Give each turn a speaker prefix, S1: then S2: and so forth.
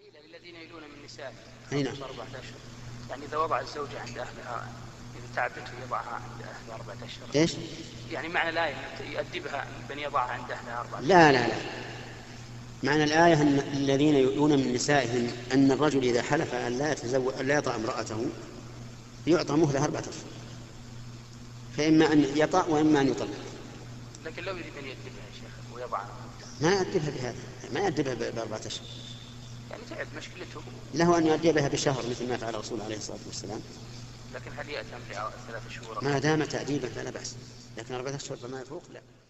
S1: إيه، النساء
S2: أي نعم.
S1: قبل أربعة أشهر يعني إذا وضع الزوجة عند أهلها إذا تعبته يضعها عند أهلها أربعة أشهر
S2: ايش؟
S1: يعني معنى الآية أن يؤدبها بأن يضعها عند أهلها أربعة أشهر
S2: لا لا لا معنى الآية أن الذين يؤلون من نسائهم أن الرجل إذا حلف أن لا يتزوج أن لا يطأ امرأته يعطى مهلة أربعة أشهر فإما أن يطأ وإما أن يطلق
S1: لكن لو يريد أن يؤدبها يا شيخ ويضعها
S2: ما يؤدبها بهذا ما يؤدبها ب- بأربعة أشهر
S1: يعني تعب مشكلته
S2: له أن يؤدي بها بشهر مثل ما فعل الرسول عليه الصلاة والسلام
S1: لكن هل يأتم بثلاث شهور
S2: ما دام تأديبا فلا بأس لكن أربعة أشهر فما يفوق لا